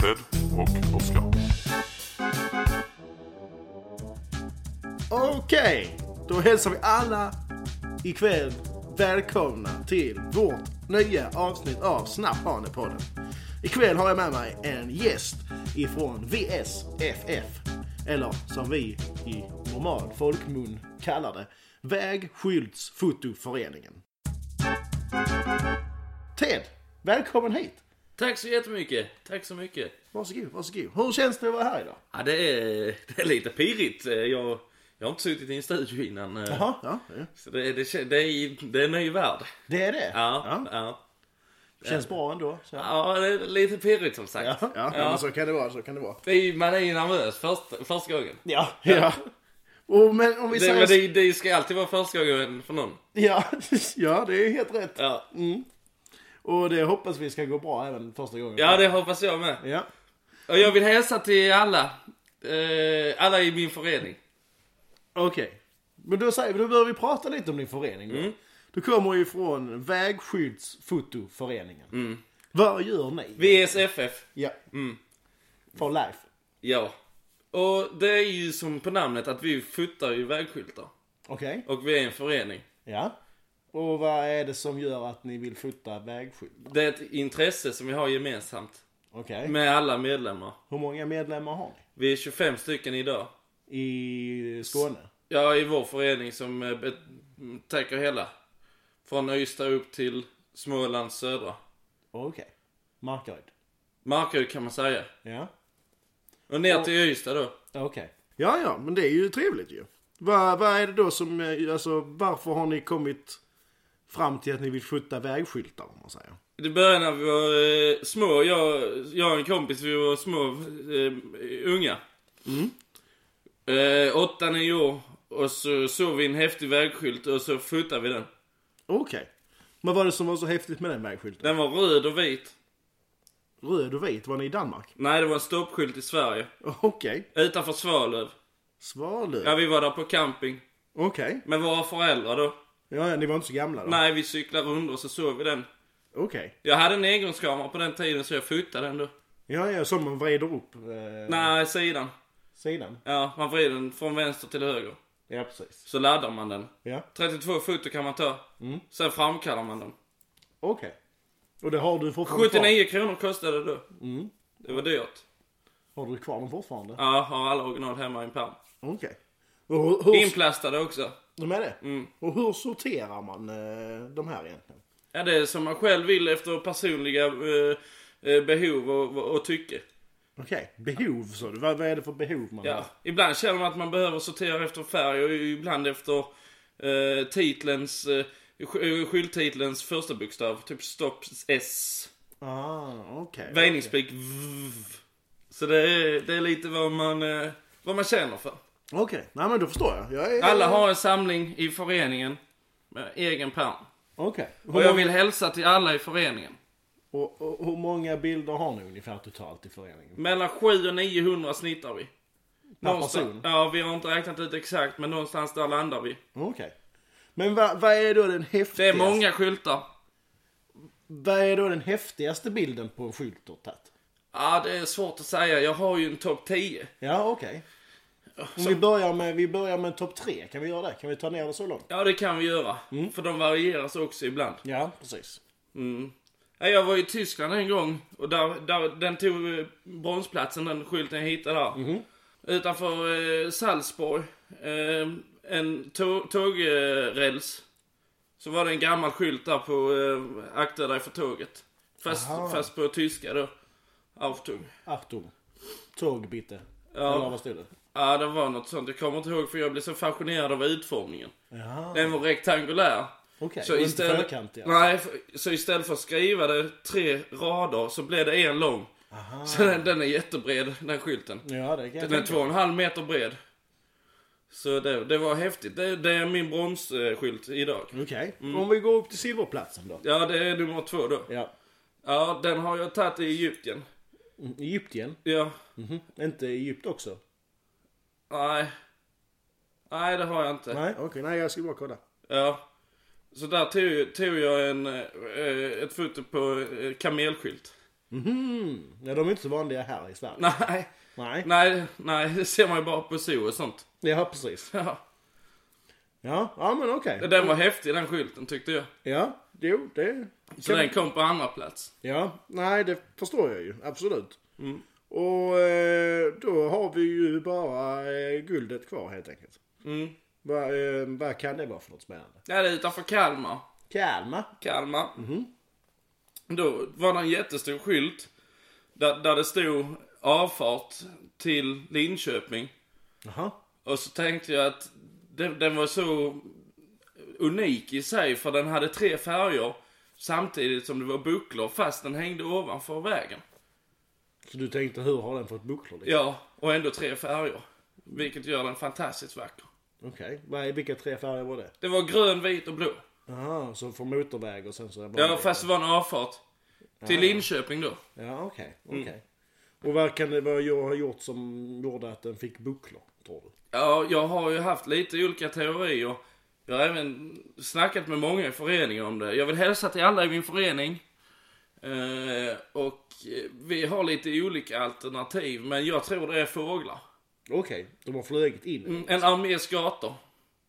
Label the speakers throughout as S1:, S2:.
S1: Ted och Oskar.
S2: Okej, då hälsar vi alla ikväll välkomna till vårt nya avsnitt av Snapphanepodden. Ikväll har jag med mig en gäst ifrån VSFF. Eller som vi i normal folkmun kallar det, Vägskyltsfotoföreningen. Ted, välkommen hit!
S3: Tack så jättemycket. Tack så mycket.
S2: Varsågod, varsågod. Hur känns det att vara här idag?
S3: Ja, det är, det är lite pirrigt. Eh, Jag, jag har inte suttit i en studio innan. eh,
S2: Jaha, ja. ja.
S3: Så det, det, kän- det, är, det är en ny värld.
S2: Det är det?
S3: Ja, ja.
S2: Känns bra ändå? Så.
S3: ja. det är lite pirrigt som sagt.
S2: Ja, ja, Men så kan det vara, så kan det vara.
S3: Det är, man är ju nervös först, första gången.
S2: Ja. ja. Och, men om vi
S3: Det,
S2: säger...
S3: men det, det ska alltid vara första gången för någon.
S2: Ja, ja, det är helt rätt.
S3: Ja,
S2: Och det hoppas vi ska gå bra även första gången.
S3: ja det hoppas jag med.
S2: ja.
S3: Och jag vill hälsa till alla. Eh, alla i min förening.
S2: Okej. Men då, säger, vi- då börjar vi prata lite om din förening då. Du kommer ju från Vägskyltsfotoföreningen. Vad gör ni?
S3: VSFF.
S2: Ja. For life.
S3: Ja. Och det är ju som på namnet att vi fotar ju vägskyltar.
S2: Okej.
S3: Och vi är en förening.
S2: Ja. Och vad är det som gör att ni vill fota vägskyltar?
S3: Det är ett intresse som vi har gemensamt
S2: Okej.
S3: med alla medlemmar.
S2: Hur många medlemmar har ni?
S3: Vi är 25 stycken idag.
S2: I Skåne?
S3: Ja, i vår förening som eh, bet- täcker hela. Från Ystad upp till Småland södra.
S2: Okej. Markaryd?
S3: Markaryd kan man säga.
S2: Ja.
S3: Och ner till Ystad då.
S2: Okej. Ja, ja, men det är ju trevligt ju. Vad, vad är det då som, eh, alltså varför har ni kommit fram till att ni vill fota vägskyltar om man säger?
S3: Det började när vi var eh, små. Jag, jag och en kompis, vi var små, eh, unga. Mm. Eh, åtta, nio år. Och så såg vi en häftig vägskylt och så fotade vi den.
S2: Okej. Men vad var det som var så häftigt med den vägskylten?
S3: Den var röd och vit.
S2: Röd och vit, var ni i Danmark?
S3: Nej, det var en stoppskylt i Sverige.
S2: Okej.
S3: Utanför Svalöv.
S2: Svalöv?
S3: Ja, vi var där på camping.
S2: Okej.
S3: Med våra föräldrar då.
S2: Ja, ja, ni var inte så gamla då?
S3: Nej, vi cyklade runt och så såg vi den.
S2: Okej.
S3: Jag hade en engångskamera på den tiden så jag fotade den då.
S2: Ja, ja, som man vrider upp eh,
S3: Nej, sidan.
S2: sidan.
S3: Ja, man vrider den från vänster till höger.
S2: Ja, precis.
S3: Så laddar man den.
S2: Ja,
S3: 32 foto kan man ta.
S2: Mm.
S3: Sen framkallar man den.
S2: okej. Och det har du Mm. fortfarande
S3: 79 kronor kostade det då. Det var dyrt.
S2: kvar? Har du kvar dem fortfarande?
S3: Ja, har alla original hemma i en pärm.
S2: Okej. Och hur- hur-
S3: Inplastade också.
S2: De är det?
S3: Mm.
S2: Och hur sorterar man eh, de här egentligen?
S3: Ja, det är som man själv vill efter personliga eh, eh, behov och, och, och tycke.
S2: Okej, behov så du. Vad, vad är det för behov man
S3: Ja,
S2: har?
S3: ibland känner man att man behöver sortera efter färg och ibland efter eh, titlens, eh, sk- eh, skylttitlens första bokstav. Typ stopp S.
S2: Ah, okej.
S3: Väjningspik V. Så det är, det är lite vad man, eh, vad man känner för.
S2: Okej, nej men då förstår jag. jag är...
S3: Alla har en samling i föreningen med egen pärm.
S2: Okej.
S3: Och
S2: Hur,
S3: jag
S2: många-
S3: vill hälsa till alla i föreningen.
S2: och, och, hur många bilder har ni ungefär totalt i föreningen?
S3: Mellan 700 och 900 snittar vi. Någonstans,
S2: person?
S3: ja, vi har inte räknat ut exakt men någonstans där landar vi.
S2: Okej. Men vad, vad är då den häftigaste?
S3: Det är många skyltar.
S2: Vad är då den häftigaste bilden på en skylt du har tagit?
S3: Ja, det är svårt att säga. Jag har ju en topp 10.
S2: Ja, okej. Om vi börjar med, vi börjar med topp tre, kan vi göra det? Kan vi ta ner det så långt?
S3: Ja, det kan vi göra.
S2: Mm.
S3: För de varieras också ibland.
S2: Ja, precis.
S3: Ja, jag var i Tyskland en gång och där, där, den tog eh, bronsplatsen, den skylten jag hittade där.
S2: Mhm.
S3: Utanför eh, Salzburg, eh, en tå- tågräls. Så var det en gammal skylt där på eh, akta dig för tåget. Fast,
S2: Aha.
S3: fast på tyska då. Auftung.
S2: Achtung. Tåg bitte.
S3: Ja.
S2: Eller vad stod det?
S3: Ja, det var något sånt. Jag kommer inte ihåg för jag blev så fascinerad av utformningen.
S2: Ja,
S3: Den var rektangulär.
S2: okej.
S3: Så
S2: Inte
S3: istället,
S2: fyrkantiga.
S3: nej, för- så istället för att skriva det tre rader så blev det en lång. Så den, den är jättebred, den skylten.
S2: Ja, det kan jag
S3: Den är
S2: tänka
S3: två och en halv meter bred. Så det, det var häftigt. Det, det är min bronsskylt idag.
S2: Okej, om vi går upp till silverplatsen då.
S3: Ja, det är nummer två då.
S2: Ja.
S3: Ja, den har jag tagit i Egypten.
S2: Mm, Egyptien?
S3: Ja,
S2: Mhm. Inte Egypt också?
S3: nej. Nej, det har jag inte.
S2: Nej, okej, nej jag ska bara kolla.
S3: Ja. Så där tog, tog jag en, eh, ett foto på eh, kamelskylt.
S2: Mhm. Ja, de är inte så vanliga här i Sverige.
S3: Nej,
S2: Nej.
S3: nej, nej, det ser man ju bara på zoo och sånt.
S2: Ja, precis.
S3: Ja.
S2: Ja, ja men okej.
S3: Den var häftig den skylten tyckte jag.
S2: Ja, jo, det...
S3: Så den kom på andra plats.
S2: Ja, nej det förstår jag ju. Absolut. Och eh, då har vi ju bara eh, guldet kvar helt enkelt.
S3: Mm.
S2: Vad eh, vad kan det vara för något spännande?
S3: Ja, det är utanför Kalmar.
S2: Kalmar.
S3: Kalmar. Då var det en jättestor skylt där, där det stod avfart till Linköping.
S2: Jaha.
S3: Och så tänkte jag att den, den var så unik i sig för den hade tre färger samtidigt som det var bucklor fast den hängde ovanför vägen.
S2: Så du tänkte hur har den fått bucklor? Liksom?
S3: Ja, och ändå tre färger. Vilket gör den fantastiskt vacker.
S2: Okej, okay. vilka tre färger var det?
S3: Det var grön, vit och blå.
S2: Jaha, så från motorväg och sen så... Var
S3: Ja, fast det var en avfart. Till Linköping då.
S2: Ja, okej.
S3: Mm.
S2: okej. Och vad kan det vara jag har gjort som gjorde att den fick bucklor, tror du?
S3: Ja, jag har ju haft lite olika teorier. Jag har även snackat med många i föreningen om det. Jag vill hälsa till alla i min förening. Eh, och eh, vi har lite olika alternativ, men jag tror det är fåglar.
S2: Okej, de har flugit in.
S3: Mm, En armés gator.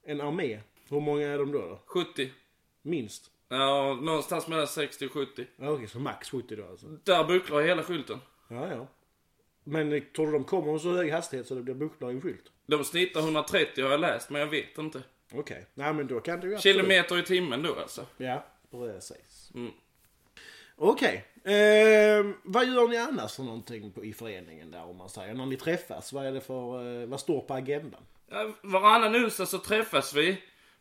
S2: En armé. Hur många är de då? då?
S3: 70.
S2: Minst?
S3: Ja, någonstans mellan 60 och 70.
S2: Ja, okej, så max 70 då alltså.
S3: Där bucklar hela skylten.
S2: Ja, ja. Men eh, tror du de kommer med så hög hastighet så det blir bucklor i en skylt?
S3: De snittar 130 har jag läst, men jag vet inte.
S2: Okej. Nej, men då kan det ju absolut...
S3: Kilometer i timmen då alltså.
S2: Ja, precis.
S3: Mm.
S2: Okej. Ehm, vad gör ni annars för någonting på, i föreningen där om man säger? När ni träffas, vad är det för... eh, vad står på agendan?
S3: Ja, Varannan onsdag så träffas vi.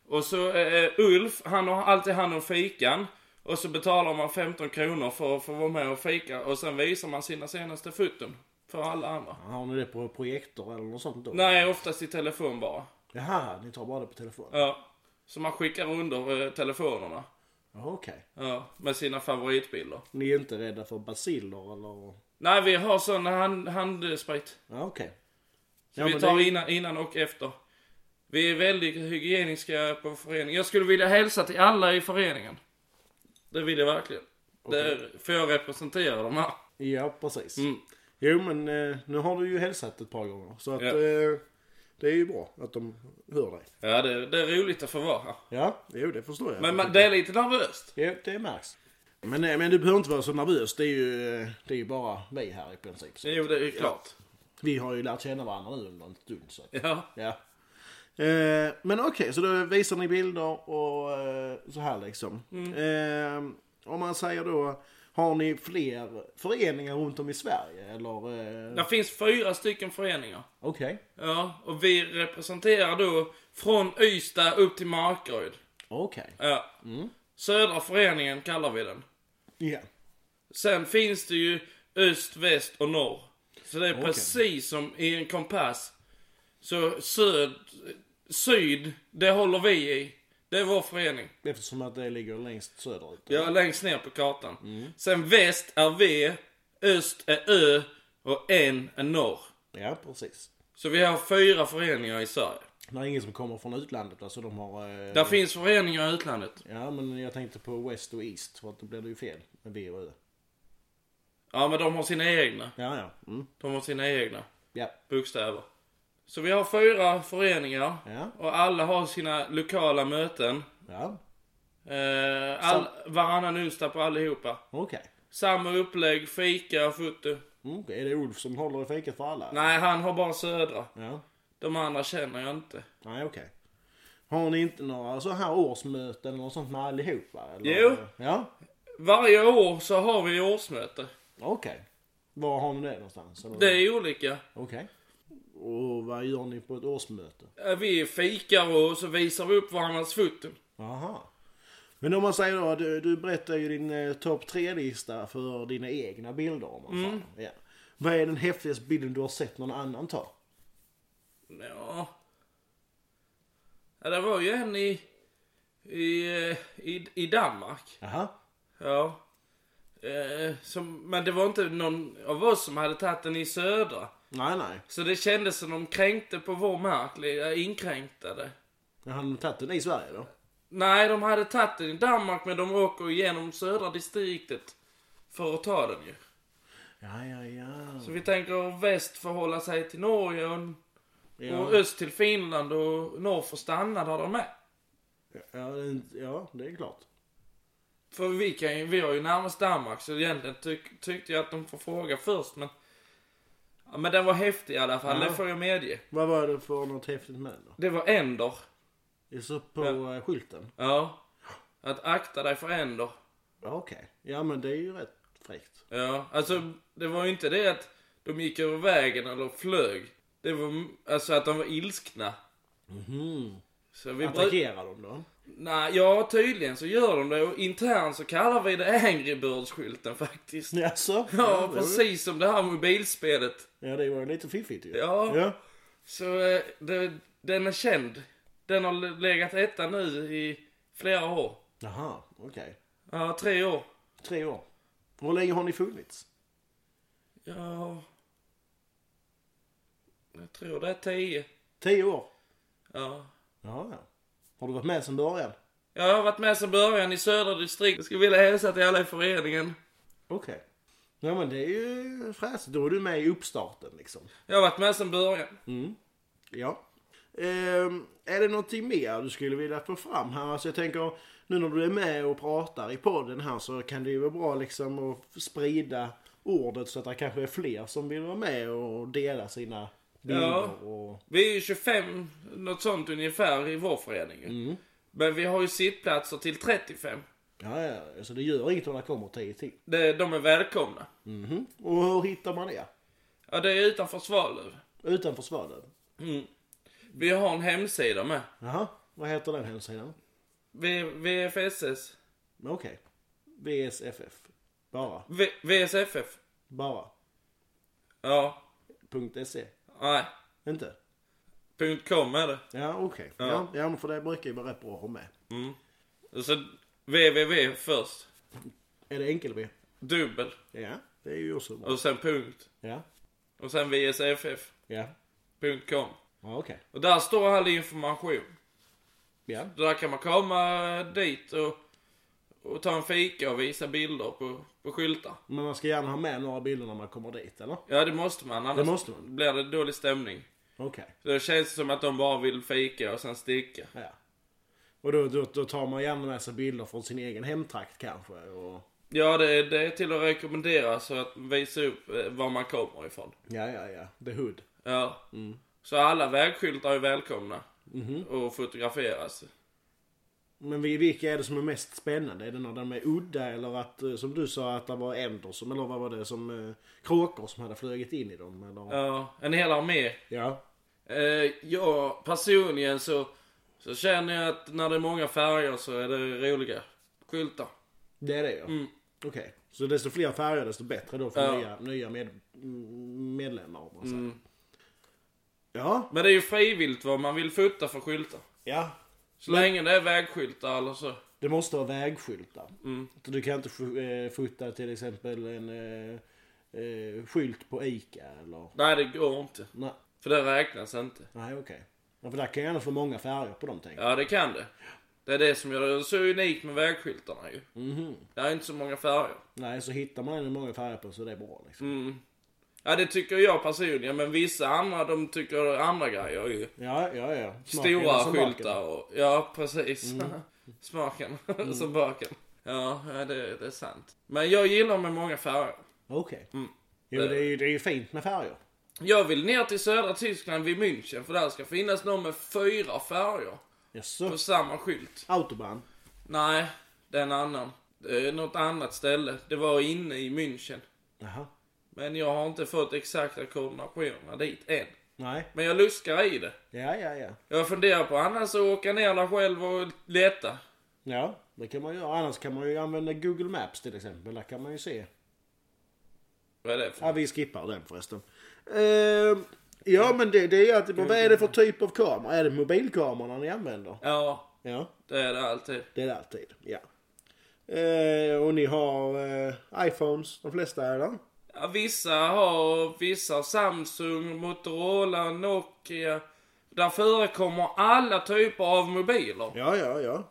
S3: Och så eh, Ulf, han har alltid hand om fikan. Och så betalar man 15 kronor för att få vara med och fika. Och sen visar man sina senaste foton. För alla andra.
S2: Har ni det på projektor eller något sånt då?
S3: Nej, oftast i telefon bara.
S2: Jaha, ni tar bara det på telefon?
S3: Ja. Så man skickar under eh, telefonerna.
S2: Jaha, Okej.
S3: Ja, med sina favoritbilder.
S2: Ni är inte rädda för baciller eller?
S3: Nej, vi har sån hand, handsprit.
S2: Ja, okej.
S3: Så
S2: Ja,
S3: vi
S2: men
S3: tar
S2: det är-
S3: innan, innan och efter. Vi är väldigt hygieniska på föreningen. Jag skulle vilja hälsa till alla i föreningen. Det vill jag verkligen. Det är, för jag representerar de här.
S2: Ja, precis.
S3: Mm.
S2: Jo, men eh, nu har du ju hälsat ett par gånger. Så att
S3: Ja.
S2: eh, det är ju bra att de hör dig.
S3: Ja, det, det är roligt att få vara här.
S2: Ja, jo det förstår jag.
S3: Men man, det är lite nervöst.
S2: Jo, det märks. Men, eh, men du behöver inte vara så nervös. Det är ju, eh, det är ju bara vi här i princip. Så.
S3: Jo, det är klart.
S2: Vi har ju lärt känna varandra nu under en stund. Så. att-
S3: Ja.
S2: Ja. Eh, men okej, så då visar ni bilder och eh, så här liksom. Eh, om man säger då, har ni fler föreningar runt om i Sverige? Eller? Eh,
S3: Det finns fyra stycken föreningar.
S2: Okej.
S3: Ja, och vi representerar då från Ystad upp till Markaryd.
S2: Okej.
S3: Ja.
S2: Mm.
S3: Södra föreningen kallar vi den.
S2: Ja.
S3: Sen finns det ju öst, väst och norr. Så det är precis som i en kompass. Så söd, syd, det håller vi i. Det är vår förening.
S2: Eftersom att det ligger längst söderut.
S3: Ja, längst ner på kartan. Sen väst är V, öst är Ö och N är norr.
S2: Ja, precis.
S3: Så vi har fyra föreningar i Sverige.
S2: Det är ingen som kommer från utlandet. Alltså de har... Eh,
S3: Där finns föreningar i utlandet.
S2: Ja, men jag tänkte på West och East. För att då blir det ju fel med V och Ö.
S3: Ja, men de har sina egna.
S2: Ja, ja. Mm.
S3: De har sina egna
S2: Ja.
S3: bokstäver. Så vi har fyra föreningar.
S2: Ja.
S3: Och alla har sina lokala möten.
S2: Ja.
S3: Eh, all, varannan onsdag på allihopa.
S2: Okej.
S3: Samma upplägg, fika, foto.
S2: Mm, okej. är det Ulf som håller i fiket för alla?
S3: Nej, han har bara södra.
S2: Ja.
S3: De andra känner jag inte.
S2: Nej, okej. Har ni inte några så här årsmöten eller något sånt med allihopa? Eller?
S3: Jo.
S2: Ja,
S3: Varje år så har vi årsmöte.
S2: okej. Var har ni det någonstans? eller?
S3: Det är olika.
S2: Okej. Och vad gör ni på ett årsmöte?
S3: Eh, Vi fikar och så visar vi upp varandras foton.
S2: Aha. Men om man säger då, du, du berättar ju din eh, topp 3-lista för dina egna bilder om man säger. Ja. Vad är den häftigaste bilden du har sett någon annan ta?
S3: Ja. ja det var ju en i, i, eh, i, i Danmark.
S2: Jaha.
S3: Ja. Eh, som, men det var inte någon av oss som hade tagit den i södra.
S2: Nej, nej.
S3: Så det kändes som de kränkte på vår mark, lite inkräktade.
S2: Men har de tagit den i Sverige då?
S3: Nej, de hade tagit den i Danmark men de åker igenom södra distriktet för att ta den ju.
S2: Ja, ja, ja.
S3: Så vi tänker väst får hålla sig till Norge och, och
S2: Ja,
S3: öst till Finland och norr får stanna där de är.
S2: ja, det- ja det är klart.
S3: För vi, kan ju, vi har ju närmast Danmark så egentligen tyck, tyckte jag att de får fråga först men... Ja, men den var häftig i alla fall,
S2: Ja.
S3: det får jag medge.
S2: Vad var det för något häftigt med då?
S3: Det var änder.
S2: Det står på eh, skylten.
S3: Ja. Att akta dig för änder.
S2: Ja, Okej. Ja, men det är ju rätt fräckt.
S3: Ja, alltså det var ju inte det att de gick över vägen eller flög. Det var alltså att de var ilskna.
S2: Mhm.
S3: Så vi bru-
S2: Attackerar de då?
S3: Nej, ja tydligen så gör de det och internt så kallar vi det Angry Birds-skylten faktiskt.
S2: Jaså?
S3: Ja,
S2: det-
S3: precis som det här mobilspelet.
S2: Ja, det var lite fiffigt ju.
S3: Ja.
S2: ja.
S3: Så eh, det, den är känd. Den har legat etta nu i flera år.
S2: Jaha, okej.
S3: Ja, tre år.
S2: Tre år. Hur länge har ni funnits?
S3: Ja... Jag tror det är tio.
S2: Tio år.
S3: Ja.
S2: Ja, ja. Har du varit med sedan början?
S3: Ja, Jag har varit med sedan början i södra distrikt. Jag skulle vilja hälsa till alla i föreningen.
S2: Okej. Ja, men det är ju fräscht. Då är du med i uppstarten liksom.
S3: Jag har varit med sedan början.
S2: Ja. Ehm, är det någonting mer du skulle vilja få fram här? Alltså jag tänker, nu när du är med och pratar i podden här så kan det ju vara bra liksom att sprida ordet så att det kanske är fler som vill vara med och dela sina bilder och...
S3: Vi är ju 25, något sånt ungefär, i vår förening. ju. Men vi har ju sittplatser till 35.
S2: Ja, ja, så det gör inget om det kommer tio till.
S3: Det- De är välkomna.
S2: Mhm. Och hur hittar man det?
S3: Ja, det är utanför Svalöv.
S2: Utanför Svalöv?
S3: Vi har en hemsida med.
S2: Jaha, vad heter den hemsidan?
S3: V- VFSS.
S2: Men Okej. VSFF. Bara.
S3: V- VSFF.
S2: Bara.
S3: Ja.
S2: Punkt .se.
S3: Nej.
S2: Inte?
S3: Punkt .com är det.
S2: Ja, okej. Ja. Ja, men för det brukar ju vara rätt bra att ha med.
S3: Så www först.
S2: Är det enkel V?
S3: Dubbel.
S2: Ja, det är ju också bra.
S3: Och sen punkt.
S2: Ja,
S3: Och sen VSFF.com.
S2: ja. Ja, okej.
S3: Och där står all information.
S2: Ja.
S3: Där kan man komma dit och, och ta en fika och visa bilder på, på skyltar.
S2: Men man ska gärna ha med några bilder när man kommer dit, eller?
S3: Ja, det måste man. Annars
S2: Det måste man.
S3: blir det dålig stämning.
S2: Okej.
S3: Så det känns som att de bara vill fika och sen sticka.
S2: Ja. Och då, då, då tar man gärna med sig bilder från sin egen hemtrakt kanske. Och...
S3: Ja, det, det är till att rekommendera så att visa upp eh, var man kommer ifrån.
S2: Ja, ja, ja. The Hood.
S3: Ja.
S2: Mm.
S3: Så alla vägskyltar är välkomna.
S2: Mhm.
S3: Och fotograferas.
S2: Men vi- vilka är det som är mest spännande? Är det när de är udda eller att, eh, som du sa, att det var änder som, eller vad var det, som eh, kråkor som hade flugit in i dem? Eller?
S3: Ja, en hel armé.
S2: Ja.
S3: Eh, jag personligen så, så känner jag att när det är många färger så är det roliga skyltar. Mm.
S2: Det är det ja. Okej. Så desto fler färger desto bättre då för
S3: Ja.
S2: nya, nya med, mm, medlemmar om man säger. Ja.
S3: Mm. Men det är ju frivilligt vad man vill fota för skyltar.
S2: Ja.
S3: Så länge det är vägskyltar eller så. Mm.
S2: Det måste vara vägskyltar. Så Du kan inte fu- eh, fota till exempel en eh, eh, skylt på ICA eller...
S3: Nej, det går inte.
S2: Nej,
S3: För det räknas inte.
S2: Nej okej. Ja, för där kan jag gärna få många färger på dem tänker jag.
S3: Ja, det kan det. Det är det som gör det så unikt med vägskyltarna ju. Det är inte så många färger.
S2: Mhm.
S3: Mm.
S2: Nej, så hittar man en med många färger på så det är bra liksom.
S3: Ja, det tycker jag personligen, men vissa andra de tycker andra grejer ju.
S2: Ja, ja, ja. Smaken är
S3: Stora
S2: som baken. Mm.
S3: skyltar och... Ja, precis. Smaken som baken. Ja, ja, det, det är sant. Men jag gillar med många färger.
S2: Okej.
S3: Mm.
S2: Jo, det är,
S3: Eh.
S2: ju, det är ju fint med färger.
S3: Jag vill ner till södra Tyskland vid München för där ska finnas någon med fyra färger
S2: Jaså?
S3: på samma skylt.
S2: Autobahn?
S3: Nej, det är en annan. Det är något annat ställe. Det var inne i München.
S2: Jaha.
S3: Men jag har inte fått exakta koordinationerna dit än.
S2: Nej.
S3: Men jag luskar i det.
S2: Ja, ja, ja.
S3: Jag funderar på annars att åka ner där själv och leta.
S2: Ja, det kan man göra. Annars kan man ju använda Google Maps till exempel. Där kan man ju se.
S3: Vad är det för
S2: Ja, vi skippar den förresten. Ehm, ja, men det, det är alltid bra. Vad är det för typ av kamera? Är det mobilkamerorna ni använder?
S3: Ja,
S2: Ja,
S3: det är det alltid.
S2: det är det alltid. Ja. Ehm, och ni har eh, iPhones, de flesta eller?
S3: Ja, vissa har, vissa har Samsung, Motorola, Nokia. Där förekommer alla typer av mobiler.
S2: Ja, ja, ja.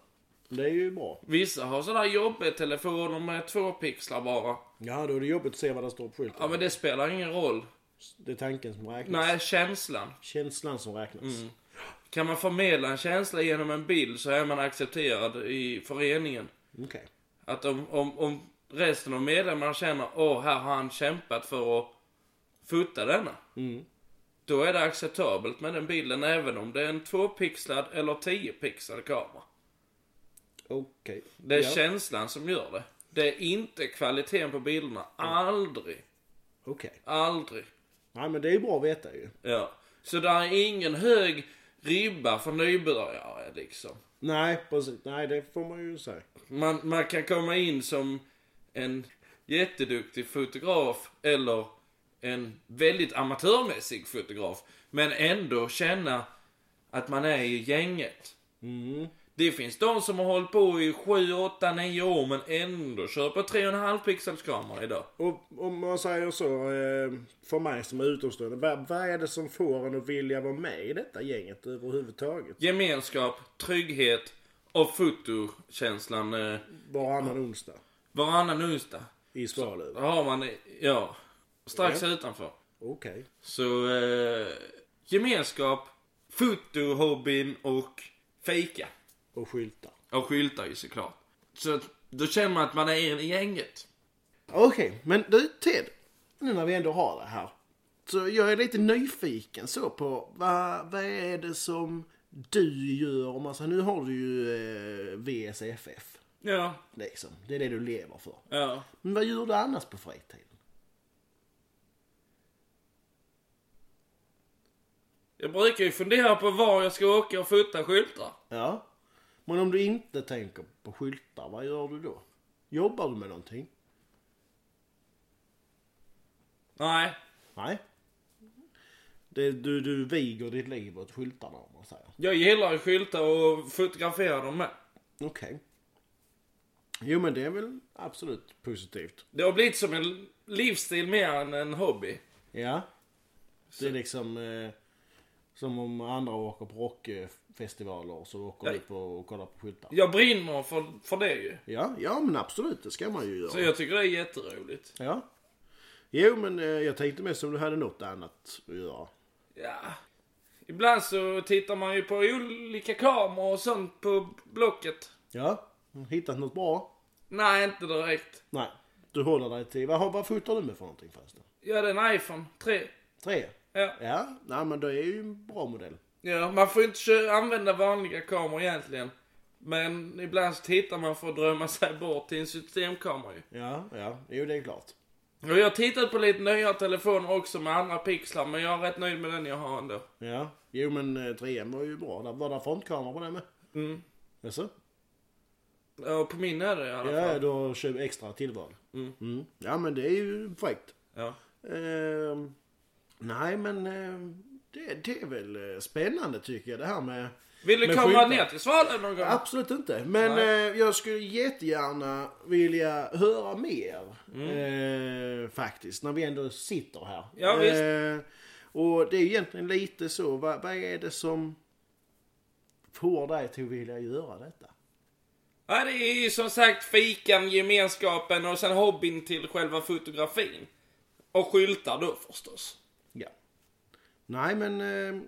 S2: Det är ju bra.
S3: Vissa har sådär jobbiga telefoner med två pixlar bara.
S2: Ja, då är det jobbigt att se vad det står på skylten.
S3: Ja men det spelar ingen roll.
S2: Det är tanken som räknas.
S3: Nej, Mm. känslan.
S2: Känslan som räknas.
S3: Kan man förmedla en känsla genom en bild så är man accepterad i föreningen.
S2: Okej.
S3: Att om, om, om resten av medlemmarna känner åh, här har han kämpat för att fota denna. Då är det acceptabelt med den bilden även om det är en tvåpixlad eller tiopixlad kamera.
S2: Okej.
S3: Det är
S2: ja.
S3: känslan som gör det. Det är inte kvaliteten på bilderna. Aldrig.
S2: Okej.
S3: Aldrig.
S2: Nej, men det är ju bra att veta ju.
S3: Ja. Så där är ingen hög ribba för nybörjare liksom.
S2: Nej, precis. Nej, det får man ju säga.
S3: Man, man kan komma in som en jätteduktig fotograf eller en väldigt amatörmässig fotograf. Men ändå känna att man är i gänget. Det finns de som har hållit på i 7, 8, 9 år men ändå kör på 3,5 pixels kamera idag.
S2: Och om man säger så, eh, för mig som är utomstående. Vad, vad är det som får en att vilja vara med i detta gänget överhuvudtaget?
S3: Gemenskap, trygghet och fotokänslan eh,
S2: Varannan onsdag
S3: varannan onsdag.
S2: i
S3: Då
S2: Svalöv.
S3: har man, eh, ja, strax utanför.
S2: Okej.
S3: Så eh, gemenskap, fotohobbyn och fika.
S2: Och skyltar.
S3: Och skyltar ju såklart. Så att då känner man att man är i gänget.
S2: Okej, men du Ted. Nu när vi ändå har det här. Så jag är lite nyfiken så på vad, vad är det som du gör? Om man säger, nu har du ju eh, VSFF.
S3: Ja,
S2: Liksom. Det är det du lever för.
S3: ja.
S2: Men vad gör du annars på fritiden?
S3: Jag brukar ju fundera på var jag ska åka och fota skyltar.
S2: Ja. Men om du inte tänker på skyltar, vad gör du då? Jobbar du med någonting?
S3: Nej,
S2: Nej. Det, du, du viger ditt liv åt skyltarna om man säger.
S3: jag gillar ju skyltar och fotografera dem med.
S2: Okej. Jo men det är väl absolut positivt.
S3: Det har blivit som en livsstil mer än en hobby.
S2: Ja. Det är liksom eh, som om andra åker på rockfestivaler så åker
S3: Ja.
S2: du på och kollar på skyltar.
S3: Jag brinner för, för det ju.
S2: Ja, ja men absolut det ska man ju göra.
S3: Så jag tycker det är jätteroligt.
S2: Ja. Jo men eh, jag tänkte mer som du hade något annat att göra.
S3: Ja. Ibland så tittar man ju på olika kameror och sånt på Blocket.
S2: Ja. Hittat något bra?
S3: Nej, inte direkt.
S2: Nej. Du håller dig till, vad, har- vad fotar du med för någonting förresten?
S3: Jag hade en iPhone 3.
S2: Tre?
S3: Ja.
S2: Ja, nej men det är ju en bra modell.
S3: ja, man får inte kö- använda vanliga kameror egentligen. Men ibland så tittar man för att drömma sig bort till en systemkamera ju.
S2: Ja, ja, jo det är klart.
S3: Och jag har tittat på lite nya telefoner också med andra pixlar, men jag är rätt nöjd med den jag har ändå.
S2: Ja, jo men eh, trean var ju bra. Där- Var det frontkamera på den med?
S3: Mm.
S2: Jaså?
S3: Ja, på min är det i alla fall.
S2: Ja, då kör vi extra tillval. Mm. Ja men det är ju fräckt.
S3: Ja.
S2: Ehm, nej men eh, det, det är väl eh, spännande tycker jag det här med
S3: Vill du
S2: Men
S3: komma
S2: skyltar.
S3: ner till Svalöv någon gång?
S2: Absolut inte. Men
S3: Nej.
S2: eh, jag skulle jättegärna vilja höra mer.
S3: Mm.
S2: Eh, faktiskt, när vi ändå sitter här.
S3: Ja, visst.
S2: Eh, och det är egentligen lite så, vad, vad är det som får dig till att vilja göra detta?
S3: Ja, det är ju som sagt fikan, gemenskapen och sen hobbyn till själva fotografin. Och skyltar då förstås.
S2: Ja. Nej, men eh,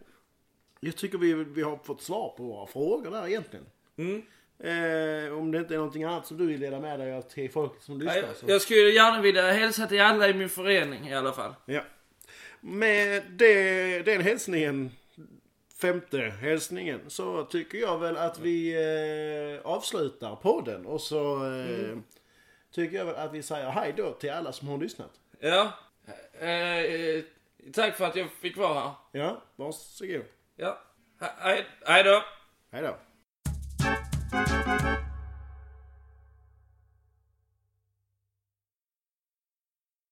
S2: jag tycker vi, vi har fått svar på våra frågor där egentligen.
S3: Mm.
S2: Eh, om det inte är någonting annat som du vill dela med dig av till folk som lyssnar.
S3: Jag,
S2: så-
S3: jag skulle gärna vilja hälsa till alla i min förening i alla fall.
S2: Ja. Med det, den hälsningen, femte hälsningen, så tycker jag väl att vi eh, avslutar podden och så eh,
S3: Mm.
S2: tycker jag väl att vi säger hej då till alla som har lyssnat.
S3: Ja. Eh, eh, tack för att jag fick vara här.
S2: Ja, varsågod.
S3: Ja. He- Hej, hej då.
S2: Hej då.